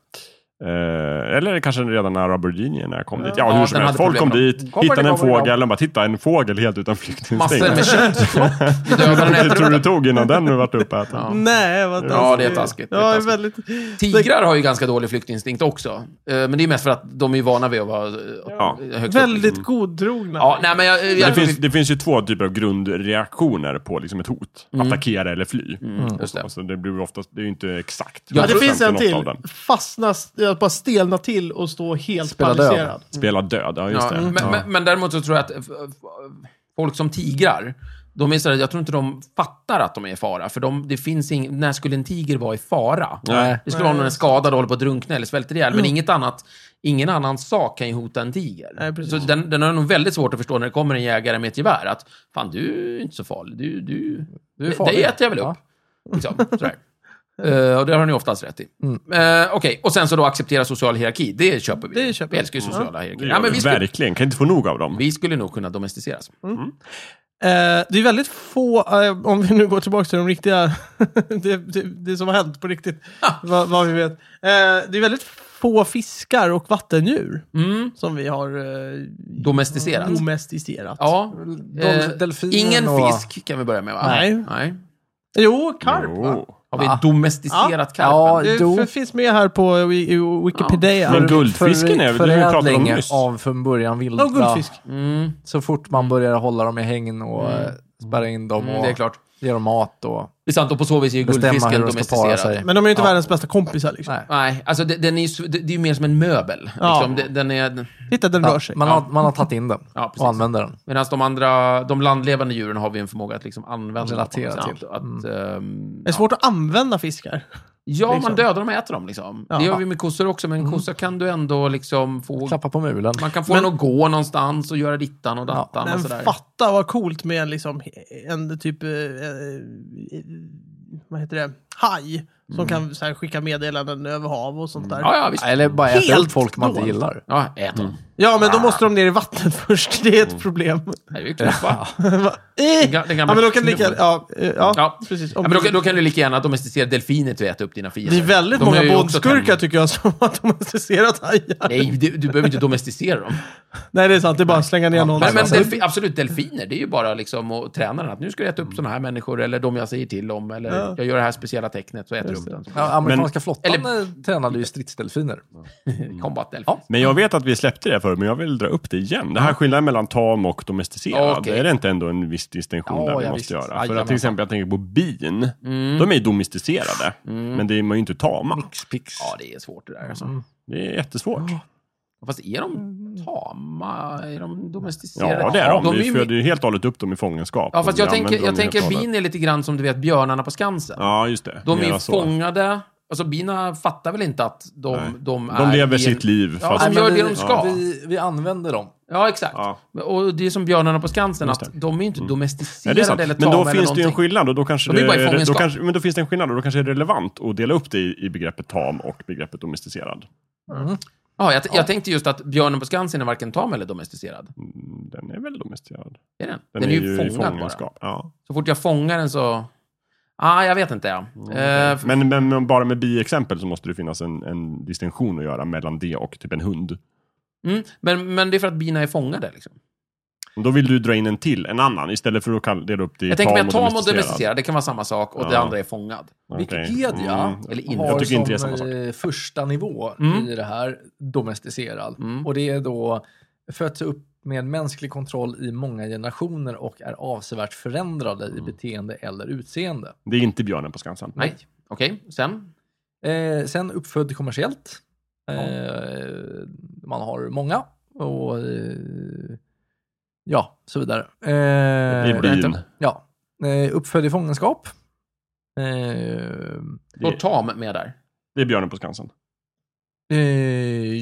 C: Eh, eller kanske redan när aboriginierna kom dit. Ja,
B: Ja,
C: hur som
B: den
C: helst.
B: hade
C: Folk kom
B: problem med
C: dit,
D: Kommer
C: hittade
D: det,
C: en
D: kommer det,
C: fågel. De bara, titta en fågel helt utan flyktinstinkt.
B: Massor med köttkropp. Vi dödar den,
C: Det
B: äter
C: tror
B: den.
C: du tog innan den vart uppäten.
B: Ja.
A: Nej, vad
B: Ja, det är taskigt. Det är
A: Ja,
B: taskigt.
A: väldigt...
B: Tigrar har ju ganska dålig flyktinstinkt också. Eh, Men det är mest för att de är vana vid att vara eh, högt upp.
A: Väldigt godtrogna.
B: liksom- Ja, nej men jag... jag
C: Men det,
B: jag-
C: finns, det finns ju två typer av grundreaktioner på liksom ett hot.
B: Mm.
C: Attackera eller fly.
B: just det.
C: Alltså, det blir oftast, det är ju inte exakt.
B: Mm. Ja,
A: Ja, det
C: 100%
A: finns
C: i
A: en
C: något
A: till.
C: av dem.
A: Fastna, jag bara stelna till och stå helt
D: Spela död.
A: paralyserad.
C: Spela död, ja just
B: Ja,
C: det.
B: men, men, men däremot så tror jag att eh, f- f- folk som tigrar, de är sådär, jag tror inte de fattar att de är i fara. För de, det finns ing, när skulle en tiger vara i fara?
C: Nej.
B: Det skulle vara om den är skadad och håller på att drunkna eller svälter ihjäl.
A: Mm.
B: Men inget annat, ingen annan sak kan ju hota en tiger.
A: Nej, precis.
B: så den, den har nog väldigt svårt att förstå när det kommer en jägare med ett gevär. Att, fan du är inte så farlig. Du, du,
D: Du är
B: det-
D: farlig.
B: Det äter jag väl upp.
D: Ja.
B: Liksom, sådär. Eh, och det har ni oftast rätt i. Mm. Okej, och sen så då acceptera social hierarki. Det köper vi.
A: Det köper
B: vi
A: vi.
B: älskar ju sociala hierarkier.
C: Det
B: Ja,
C: gör
B: men
C: vi
B: vi skulle-
C: Verkligen, kan inte få nog av dem.
B: vi skulle nog kunna domesticeras.
A: Eh, det är väldigt få, eh, om vi nu går tillbaka till de riktiga, det, det, det som har hänt på riktigt, vad, vad vi vet. Eh, det är väldigt få fiskar och vattendjur som vi har eh,
B: Domesticerat.
A: domesticerat.
B: Ja.
D: Eh,
B: Eh,
D: Dol- delfiner
B: ingen
D: och-
B: fisk kan vi börja med, va?
A: Nej. Jo, karp va?
C: Jo.
B: Har vi
D: Va?
B: domesticerat
D: Ja,
B: karpen?
A: Det
D: Jo.
A: f- finns med här på eh, i- i Wikipedia.
C: Men guldfisken är-
D: För-
C: det pratade om
D: förädling
C: nyss.
D: av från början vilda.
A: Ja, guldfisk.
B: Mm,
D: Så fort man börjar hålla dem i hägn och eh, spärra in dem
B: mm,
D: och
B: det är klart.
D: ge dem mat och
B: Det är sant, och på så vis är ju
D: bestämma hur
B: guldfisken
D: de ska para sig.
B: domesticerad.
A: Men de är ju inte världens bästa kompisar liksom.
D: Nej.
B: Nej, alltså det, den är ju, s- det, det är ju mer som en möbel.
A: Ja.
B: Liksom, det, den är,
A: Titta, den rör
D: Ja,
A: sig.
D: man, har, man har tagit in den
B: Ja, precis.
D: och använder den.
B: medan de andra, de landlevande djuren har vi en förmåga att liksom använda.
D: Relatera
B: på något
D: till. Mm.
B: sätt. Att, ehm,
A: Det är svårt att använda fiskar.
B: ja,
A: liksom.
B: man dödar dem och äter dem. Liksom. Det gör vi med kossor också, men en kossa kan du ändå liksom få...
D: Mm. Klappa på mulen.
B: Man kan få den att gå någonstans och göra dittan och dattan och sådär.
A: Men fatta vad coolt med en liksom, en typ, eh, eh, vad heter det, haj. Som kan så här, skicka meddelanden över hav och sånt där.
B: Mm. Ja, ja, visst.
D: Eller bara äta
A: Helt
D: upp folk man inte
A: dolt.
D: gillar.
B: Ja, Mm. ät dem.
A: Ja, men då
B: Ah.
A: måste de ner i vattnet först. Det är ett problem.
B: Det är ju klokt, va?
A: Va? Eh!
B: Mm. ga- den
A: ja,
B: gamla
A: men då kan lika,
B: knubbel.
A: ja, eh, ja,
B: Ja.
A: precis.
B: Ja,
A: Om
B: men då, kan- då kan du lika gärna domesticera delfiner till att äta upp dina fiender.
A: det är väldigt
B: De har
A: många
B: ju också
A: bondskurkar
B: tänder.
A: tycker jag som har domesticerat hajar.
B: Nej, du, du behöver inte domesticera dem.
A: Nej, det är sant. Det är bara att slänga ner någon.
B: Men, men
A: någonstans.
B: delfi, absolut, delfiner, det är ju bara liksom att träna den. Att nu ska du äta upp såna här människor, eller de jag säger till om, eller
A: Ja.
B: jag gör det här speciella tecknet, så äter du upp den.
D: Ja, amerikanska flottan
B: eller-
D: eller... tränade ju stridsdelfiner.
B: Mm.
A: Mm.
B: Combat-delfin.
C: Men jag vet att vi släppte det förr, men jag vill dra upp det igen. Det här skillnaden mellan tam och domesticerad,
B: Okej.
C: är det inte ändå en viss distinktion
D: Ja,
C: där vi
D: ja,
C: måste
D: visst.
C: göra? För
D: Jajamän.
C: att till exempel, jag tänker på bin.
B: Mm.
C: De är ju domesticerade, men det är man ju inte tama.
D: Xpix.
B: Ja, det är svårt det där. Alltså.
A: Mm.
C: Det är jättesvårt.
B: Fast är de tama? Är de domesticerade?
C: Ja, det är de.
B: är
C: vi
B: ju-
C: föder ju helt och hållet upp dem i fångenskap.
B: Ja, fast
C: och vi
B: jag tänker,
C: använder
B: jag
C: dem helt
B: tänker
C: och hållet.
B: bin är lite grann som du vet björnarna på Skansen.
C: Ja, just det.
B: De är
C: Mera
B: ju
C: så.
B: fångade Alltså bina fattar väl inte att de,
C: Nej.
B: de är...
C: De lever
B: i en-
C: sitt liv.
B: Ja,
C: fast...
B: de gör
D: men
B: det
D: vi-
B: de ska.
D: Vi, vi använder dem.
B: Ja, exakt.
C: Ja.
B: Och det är som björnarna på Skansen,
C: Just
B: att de är inte
C: Nej,
B: domesticerade
C: det är sant.
B: eller
C: Men
B: tama
C: då
B: eller
C: finns det ju en
B: någonting.
C: skillnad och då kanske,
B: De är
C: det,
B: bara i
C: är- då
B: fångenskap.
C: kanske, men då finns det en skillnad och då kanske är det relevant att dela upp det i, i begreppet tam och begreppet domesticerad.
B: Ja, jag, jag tänkte just att björnen på Skansen är varken tam eller domesticerad.
C: Mm, Den är väl domesticerad?
B: Är den?
C: Den,
B: är, ju fångad bara.
C: fångenskap. Ja.
B: Så fort jag fångar den så... Ah, jag vet inte. Ja. Eh, f-
C: Men, men, men bara med biexempel så måste det finnas en, en distinktion att göra mellan det och typ en hund.
B: mm, men, men det är för att bina är fångade. Liksom.
C: Och Då vill du dra in en till, en annan, istället för att kalla- dela upp det i
B: Jag tänker mig att tam och
C: domesticerad.
B: domesticerad, det kan vara samma sak, och det
C: Ja.
B: andra är fångad.
C: Okej. Mm.
D: Wikipedia
B: Eller
D: har
B: inre.
C: Jag tycker
D: som
C: inte det är samma sak.
D: eh, första nivå
B: Mm.
D: i det här domesticerad.
B: Mm.
D: Och det är då fötts upp med mänsklig kontroll i många generationer och är avsevärt förändrade
C: Mm.
D: i beteende eller utseende.
C: Det är inte björnen på Skansen.
B: Nej. Okej, sen?
D: Eh, sen uppfödd kommersiellt. Eh, man har många och eh,
C: Mm.
D: ja, så vidare.
C: I
D: Eh,
C: byn.
D: ja. eh, uppfödd i fångenskap. Eh,
C: Det
B: Och
C: är,
B: tam med där.
C: det är björnen på Skansen.
D: Eh,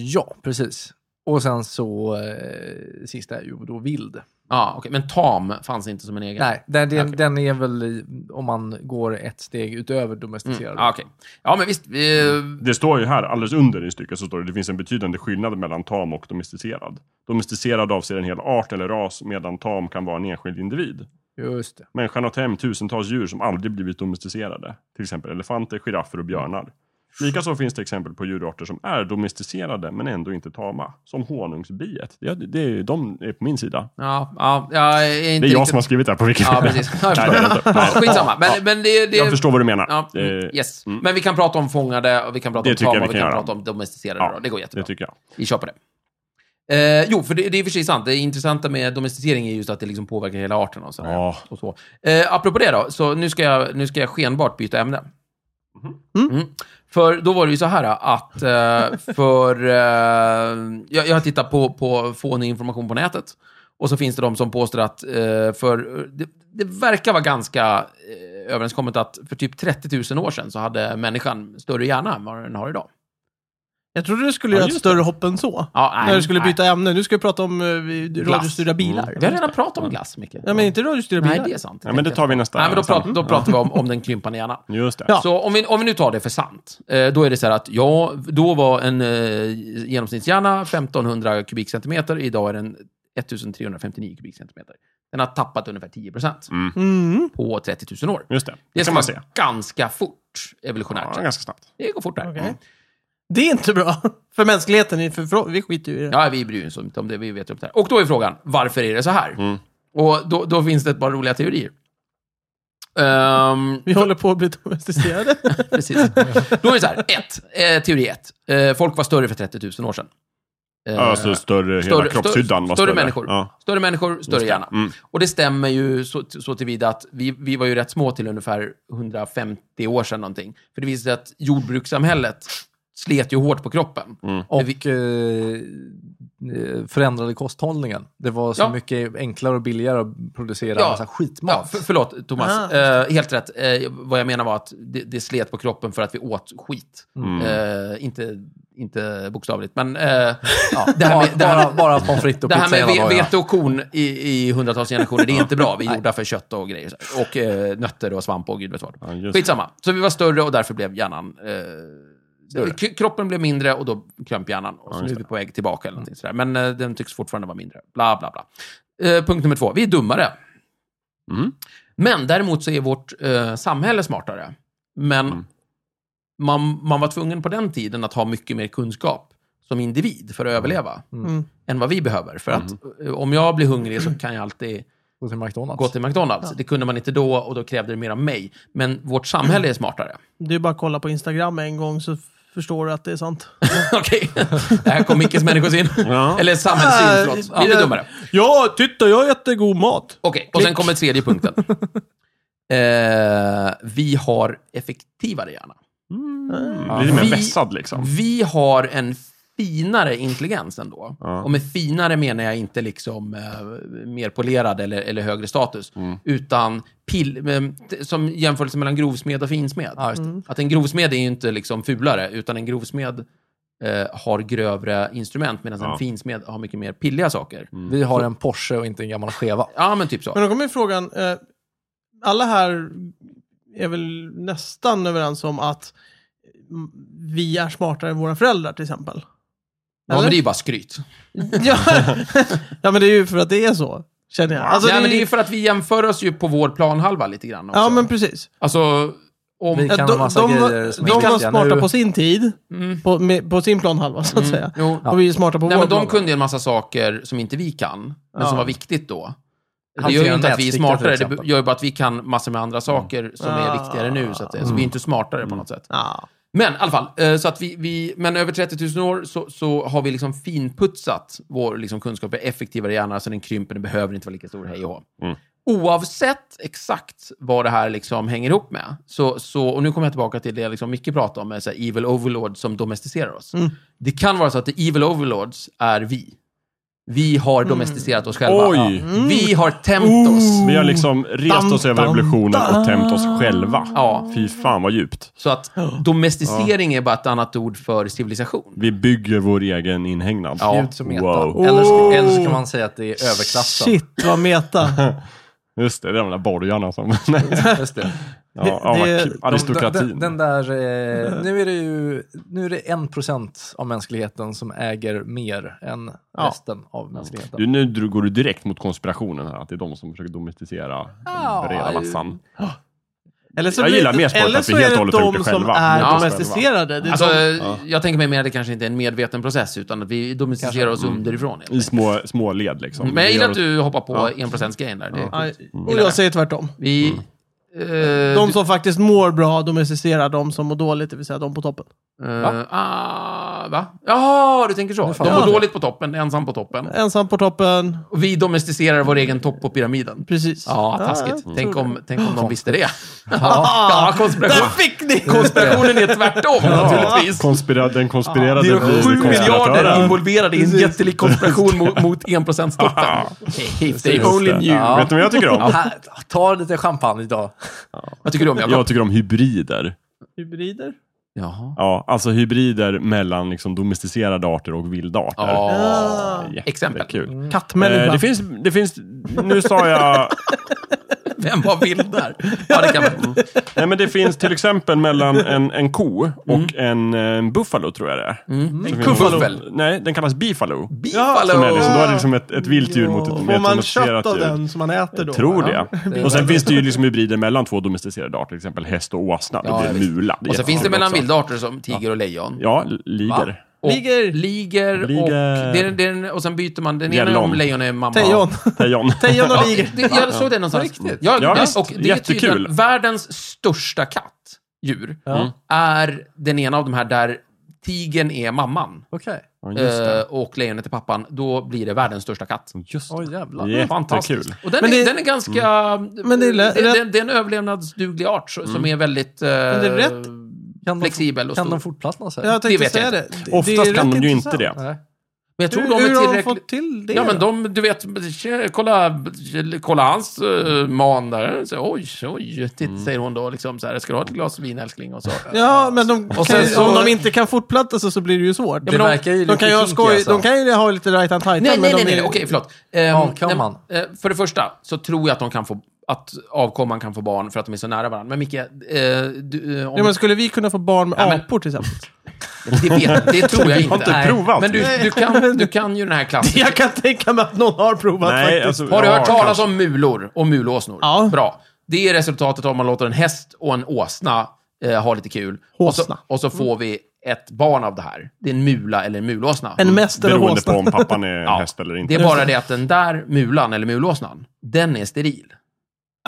D: ja, precis. Och sen så eh, sista är ju då vild.
B: Ja, Ah, okej. Men tam fanns inte som en egen.
D: Nej, den, den,
B: Okej.
D: den är väl i, om man går ett steg utöver domesticerad.
B: Mm. Ah, okej. Ja, men visst. Vi,
C: Det står ju här, alldeles under i stycket, så står det det finns en betydande skillnad mellan tam och domesticerad. Domesticerad avser en hel art eller ras, medan tam kan vara en enskild individ.
D: Just det.
C: Människan har hem tusentals djur som aldrig blivit domesticerade. Till exempel elefanter, giraffer och björnar. Likaså finns det exempel på djurarter som är domesticerade men ändå inte tama. Som honungsbiet. Det, det, är- de är på min sida.
B: ja, ja, jag är
C: Det
B: inte
C: är jag
B: riktigt...
C: som har skrivit det här på Wikipedia.
B: Ja, precis.
C: Nej, det är det inte. Nej.
B: Skitsamma. Men, men det, det...
C: Jag förstår vad du menar.
B: Ja,
C: Eh,
B: mm, yes. Men vi kan prata om fångade, och vi kan prata
C: Det
B: om
C: tycker jag
B: tama,
C: vi
B: och vi
C: kan
B: kan
C: göra.
B: prata om domesticerade.
C: Ja,
B: då. Det går jättebra.
C: Det tycker jag.
B: Vi kör på det. Eh, jo, för det, det är i och för sig sant. Det intressanta med domesticering är just att det liksom påverkar hela arten. Och sådär.
C: Ja.
B: och så. Eh, apropå det då, så nu ska jag, nu ska jag skenbart byta ämne. Mm. För då var det ju så här att eh, för... Eh, jag, jag har tittat på, på fånig information på nätet. Och så finns det de som påstår att eh, för... Det, det verkar vara ganska eh, överenskommet att för typ 30 000 år sedan så hade människan större hjärna än vad den har idag.
A: Jag trodde du skulle
C: Ja,
A: göra ett
C: just
A: större hopp än så.
B: Ja, nej,
A: när du skulle
B: nej. Mm.
A: byta ämne. Nu ska vi prata om uh, radiostyrda bilar.
B: Vi har redan pratat om glass, Micke.
A: Ja, men inte radiostyrda
B: Nej,
A: bilar.
B: det är sant.
C: Ja, men det tar vi nästa.
B: Nej, men då,
C: nästa.
B: pratar, då pratar vi om, om den krympande hjärnan.
C: Just det.
A: Ja.
B: Så om vi, om vi nu tar det för sant, eh, då är det så här att ja, då var en eh, genomsnittshjärna 1500 kubikcentimeter, idag är den 1359 kubikcentimeter. Den har tappat ungefär 10 procent
A: Mm.
B: på 30 000 år.
C: Just det.
B: Det
C: Det
B: ska
C: kan
B: man
C: man se.
B: ganska fort,
C: Ja,
B: evolutionärt sett.
C: ganska snabbt.
B: Det går fort Mm. där.
A: Okej. Det är inte bra. För mänskligheten, är- för, för, vi skiter ju i det.
B: Ja, vi bryr oss inte om det. Vi vet ju om det här. Och då är frågan, varför är det så här?
C: Mm.
B: Och då, då finns det ett par roliga teorier. Ehm,
A: Vi håller på att bli domesticerade.
B: precis. Då är det så här, ett, eh, teori ett. Eh, folk var större för 30 000 år sedan. Eh,
C: Ja, så större, hela kroppshyddan
B: större,
C: var större.
B: människor.
C: Ja. Mm.
B: Större människor, större hjärna. Och det stämmer ju så, så tillvida att vi, vi var ju rätt små till ungefär 150 år sedan någonting. För det visade sig att jordbrukssamhället slet ju hårt på kroppen.
C: Mm.
D: Och eh, förändrade kosthållningen. Det var så
B: Ja.
D: mycket enklare och billigare att producera
B: Ja.
D: massa
B: Ja,
D: skitmat.
B: för, förlåt, Thomas.
A: Ah, just
B: Eh, helt rätt. Eh, vad jag menar var att det, det slet på kroppen för att vi åt skit.
C: Mm.
B: Eh, inte, inte bokstavligt, men eh, ja, det här med, det här
D: bara,
B: med,
D: bara pommes frites och
B: det här
D: pizza
B: med
D: hela
B: ve-
D: dagarna.
B: vete och korn i, i hundratals generationer, det är inte bra. Vi är gjorda för kött och grejer. så här. Och eh, nötter och svamp och gud vet vad.
C: Ja, just det.
B: Skitsamma. Så vi var större och därför blev hjärnan... Eh, k- Kroppen blev mindre och då krömp hjärnan. Och så nu är vi på väg tillbaka eller någonting
D: Mm.
B: sådär. Men eh, den tycks fortfarande vara mindre. Bla, bla, bla. Eh, punkt nummer två. Vi är dummare.
C: Mm.
B: Men däremot så är vårt eh, samhälle smartare. Men
C: Mm.
B: man, man var tvungen på den tiden att ha mycket mer kunskap som individ för att överleva.
A: Mm.
B: Än vad vi behöver. För att eh, om jag blir hungrig så kan jag alltid
D: Gå till McDonalds.
B: gå till McDonalds. Det kunde man inte då och då krävde det mer av mig. Men vårt samhälle är smartare.
A: Det är bara att kolla på Instagram en gång så förstår du att det är sant.
B: Okej, det här kom Mickes människosyn.
C: Ja.
B: Eller samhällssyn, förlåt.
A: Eh,
B: Vi är dummare.
A: Ja, titta jag har jättegod mat.
B: Okej, och sen
A: Klick.
B: kommer tredje punkten. Eh, vi har effektivare hjärna.
C: Lite
B: Vi-
C: mer vässad liksom.
B: Vi har en finare intelligens ändå.
C: Ja.
B: Och med finare menar jag inte liksom eh, mer polerad eller, eller högre status.
C: Mm.
B: Utan pill, eh, t- som jämförelse mellan grovsmed och finsmed.
D: Ja, just det.
B: Att en grovsmed är ju inte liksom fulare, utan en grovsmed eh, har grövre instrument medan
C: Ja. Mm.
B: en finsmed har mycket mer pilliga saker.
D: Vi har en Porsche och inte en gammal skeva.
B: Ja, men typ så.
A: Men då kommer ju frågan, eh, alla här är väl nästan överens om att mm, vi är smartare än våra föräldrar till exempel.
B: ja, men det är ju bara skryt.
A: ja, ja, men det är ju för att det är så, känner jag. Alltså,
B: Nej,
A: det är
B: men det är
A: ju-
B: ju för att vi jämför oss ju på vår planhalva lite grann också.
A: Ja, men precis.
B: Alltså, om...
D: Vi
A: Ja,
D: kan
A: de,
D: ha massa
A: de,
D: grejer som
A: de
D: är
A: var
D: viktiga
A: smarta
D: nu.
A: på sin tid,
B: Mm.
A: på, med, på sin planhalva så att säga.
B: Jo.
A: Och vi är smarta på
B: Nej,
A: vår
B: men de
A: planhalva.
B: kunde ju en massa saker som inte vi kan, men som
A: Ja.
B: var viktigt då. Det
D: Hantera
B: gör ju inte att vi är
D: nätstickor,
B: smartare,
D: till
B: det
D: exempel.
B: gör ju bara att vi kan massor med andra saker som är
A: Ah. Mm.
B: viktigare nu, så att säga. Så vi är inte smartare på något sätt.
A: Ja.
B: Men i alla fall, eh, så att vi, vi, men över 30 000 år så, så har vi liksom finputsat vår liksom kunskap, är effektivare hjärna, så den krymper, den behöver inte vara lika stor, hej och hå.
C: Mm.
B: Oavsett exakt vad det här liksom hänger ihop med, så, så, och nu kommer jag tillbaka till det liksom Micke pratade om, med så här evil overlords som domesticerar oss. Det kan vara så att the evil overlords är vi. Vi har domesticerat oss själva.
C: Oj!
B: Vi har tämt oss.
C: Vi har liksom rest oss över
A: Dam, dam,
C: revolutionen och tämt oss själva.
B: Ja.
C: Fy fan vad djupt.
B: Så att domesticering är bara ett annat ord för civilisation.
C: Vi bygger vår egen inhägnad.
B: Ja.
D: Gud som meta.
C: Wow.
D: Eller, så,
A: Oh.
D: eller så kan man säga att det är överklassen.
A: Shit, vad meta.
C: Just det, det är de där borgarna som... Nej.
D: Just det.
C: ja, ja,
A: det-
C: vad kul.
A: de-
C: aristokratin.
D: Den, den där, eh, nu är det ju nu är det 1% av mänskligheten som äger mer än resten av mänskligheten.
C: Du, nu dro- går du direkt mot konspirationen här, att det är de som försöker domesticera den breda massan.
A: Eller så
C: Jag
A: blir-
C: gillar mer sport
A: eller
C: att vi
A: så
C: helt
A: är
C: och
A: det
C: hållet har gjort det
A: de som
C: själva.
A: är
C: Ja.
A: domesticerade. Det är
B: Alltså,
A: de-
B: Jag tänker mig mer att det kanske inte är en medveten process, utan att vi domesticerar oss underifrån. helt
C: I
B: enkelt.
C: små, små led liksom.
B: Men jag
C: Vi
B: gillar
C: gör
B: att
C: oss-
B: du hoppar på 1%-grejen där. Det är
A: Ja,
B: coolt.
A: och jag säger tvärtom.
B: Vi... eh,
A: De som faktiskt mår bra domesticerar de som mår dåligt, det vill säga de på toppen.
B: du, eh, ah, va? Jaha, du tänker så. De
D: jag
B: mår
A: det.
B: dåligt på toppen, ensam på toppen.
A: Ensam på toppen,
B: Och vi domesticerar vår egen topp på pyramiden.
A: precis.
B: Ja, taskigt.
A: jag
B: tänk,
A: tror
B: om, tänk om de visste det.
A: Ah,
B: Ja, konspiration.
A: Där fick ni!
B: Konspirationen är tvärtom, naturligtvis.
C: Konspira den konspirerade
B: Det är
C: blir
B: sju miljarder
C: konspiratören.
B: involverade i en jättelik konspiration mot, mot 1%-toppen. If they
D: Just
B: only
D: det.
B: knew.
D: Ja.
C: Vet du vad jag tycker om?
D: Här, ta lite champagne idag.
B: Vad tycker du om Jakob?
C: Jag tycker om hybrider.
A: Hybrider?
B: Jaha.
C: Ja, alltså hybrider mellan liksom domesticerade arter och vilda arter.
B: Ja.
A: Ah.
B: Exempel.
C: Kul.
A: Kattmänniska.
C: Eh, det, finns, det finns, nu sa jag,
B: Vem var vild där? Ja, det kan
C: Mm.
B: man.
C: nej men det finns till exempel mellan en, en ko och
B: Mm.
C: en, en buffalo tror jag det är. Så finns-
B: kuffel.
C: Nej, den kallas bifalo.
B: Bifalo!
C: Som är liksom, då är det liksom ett, ett vilt djur mot ett, med
A: Får
C: ett
A: man
C: domesticerat
A: kött av
C: djur.
A: den som man äter då?
C: Tror
A: va?
C: det. Och sen finns det ju liksom hybrider mellan två domesticerade arter, till exempel häst och åsna. Det
B: Ja,
C: blir
B: visst.
C: mula. är
B: Och så finns det
C: jättekul
B: mellan
C: också.
B: vildarter som tiger och lejon.
C: Ja, liger.
B: Och
A: Liger.
B: Liger och...
C: Liger.
B: Det är, det är, en- och sen byter man. Den ena
C: Gällon.
B: om lejon är mamma.
A: Tejon.
C: Tejon.
A: Tejon
B: Ja,
A: och liger.
B: det, jag såg det någonstans.
D: På riktigt?
B: Ja,
C: Ja,
B: det-
C: visst.
B: och det är tydligen
C: Jättekul. Mm.
B: världens största kattdjur
D: Ja.
B: är den ena av de här där tigern är mamman
D: Okej.
C: Ja, just
B: eh,
C: det.
B: och lejonet är pappan. Då blir det världens största katt.
C: Just
D: Oj
C: det.
D: jävlar.
C: Jättekul.
B: Fantastiskt. Och den,
A: Men
B: är,
A: det- Mm.
B: den är ganska...
A: Men det är lä-
B: det,
A: rätt-
B: det, det är en överlevnadsduglig art så- som är väldigt... Eh,
A: det är rätt-
D: Kan
B: Flexibel och
D: de, kan
B: stor.
D: de fortplantera sig?
A: Jag
B: Det
A: tänkte
B: vet jag
A: säga det. det. det är
C: Oftast
A: rätt
C: kan de ju
A: intressant.
C: inte det.
D: Nej.
B: Men jag tror
A: Hur,
B: de
A: hur
B: är
A: har de
B: tillräckligt...
A: fått till det?
B: Ja, men
A: då?
B: de, du vet, kolla, kolla hans eh, man där. Så, oj, oj, titt, säger hon då. Liksom, så här, ska du ha ett glas vin älskling? Och så.
A: Mm. Ja, men de
D: Och
A: kan,
D: sen
A: ju-
D: så-
A: om de inte kan fortplanta sig så blir det ju svårt.
D: Det verkar
A: de,
D: ju lite
A: kan ju ha
D: kinky,
A: skoj,
D: alltså.
A: de kan ju ha lite right on tight
B: Nej,
A: men
B: nej, nej,
A: de
B: nej,
A: är-
B: okej, förlåt. Ehm,
D: Avkomman.
B: nej, eh, för det första så tror jag att de kan få, att avkomman kan få barn för att de är så nära varandra. Men Micke, eh, du, eh, om,
A: Ja, men skulle vi kunna få barn med
B: Ja, men-
A: apor till exempel?
B: det, vet, det tror jag
C: Vi
B: inte.
C: har inte
B: Nej.
C: provat.
B: Men du, du, kan, du kan ju den här klassen.
A: Jag kan tänka mig att någon har provat
C: Nej,
A: faktiskt.
C: alltså,
B: Har du
C: ja,
B: hört talas
C: kanske.
B: om mulor och mulåsnor?
A: Ja.
B: Bra. Det är resultatet om man låter en häst och en åsna eh, ha lite kul. Och så,
A: Håsna.
B: och så får vi ett barn av det här. Det är en mula eller en mulåsna. Mm.
A: En mäst eller
C: Beroende på
A: håsna.
C: om pappan är en häst eller
B: Det
C: inte.
B: är Mm. bara det att den där mulan eller mulåsnan, den är steril.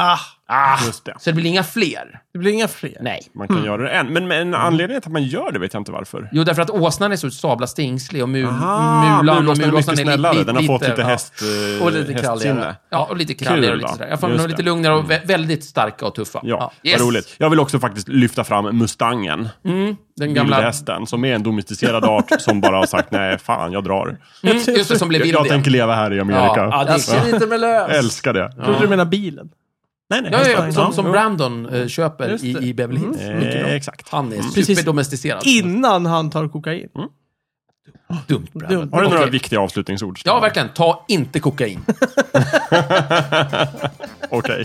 A: Ah,
B: Ah,
C: Just det.
B: så det blir inga fler?
A: Det blir inga fler.
B: Nej.
C: Man kan göra det än. Men, men anledningen till att man gör det vet jag inte varför.
B: Jo, därför att åsnan är så sabla stingslig och mu,
C: Aha,
B: mulan och
C: mulåsnan är
B: mulåsnan
C: mycket
B: är lite,
C: snällare. Den har fått lite
B: ja.
C: häst, eh,
D: Och lite kralligare.
C: hästsinne.
B: Ja, och lite kralligare och lite
C: Kul,
B: sådär. Jag får
C: just
B: dem lite
C: det. Mm.
B: lugnare och vä- väldigt starka och tuffa.
C: Ja,
B: Yes.
C: vad roligt. Jag vill också faktiskt lyfta fram Mustangen,
B: Den gamla...
C: vildhästen, som är en domesticerad art som bara har sagt nej, fan, jag drar.
B: Mm, just det, som blev
C: Jag,
B: vild
C: jag
B: igen.
C: tänker leva här i Amerika.
B: Ja, ja, det är
D: Jag ska inte med
C: Jag
D: lös.
C: älskar det.
A: Trodde du menade
B: Mm.
A: bilen?
C: Nej, nej,
B: Ja, ja, ja,
C: hästar.
B: som, som
C: jo.
B: Brandon eh, köper i,
A: det.
B: i Beverly Hills.
C: Eh, Exakt.
B: Han är
A: Precis.
B: superdomesticerad.
A: Innan han tar kokain.
B: Dumt,
A: Dumt.
B: Brandon.
C: Har du några
B: Okej.
C: viktiga avslutningsord?
B: Ja, verkligen. Ta inte kokain.
C: Okej.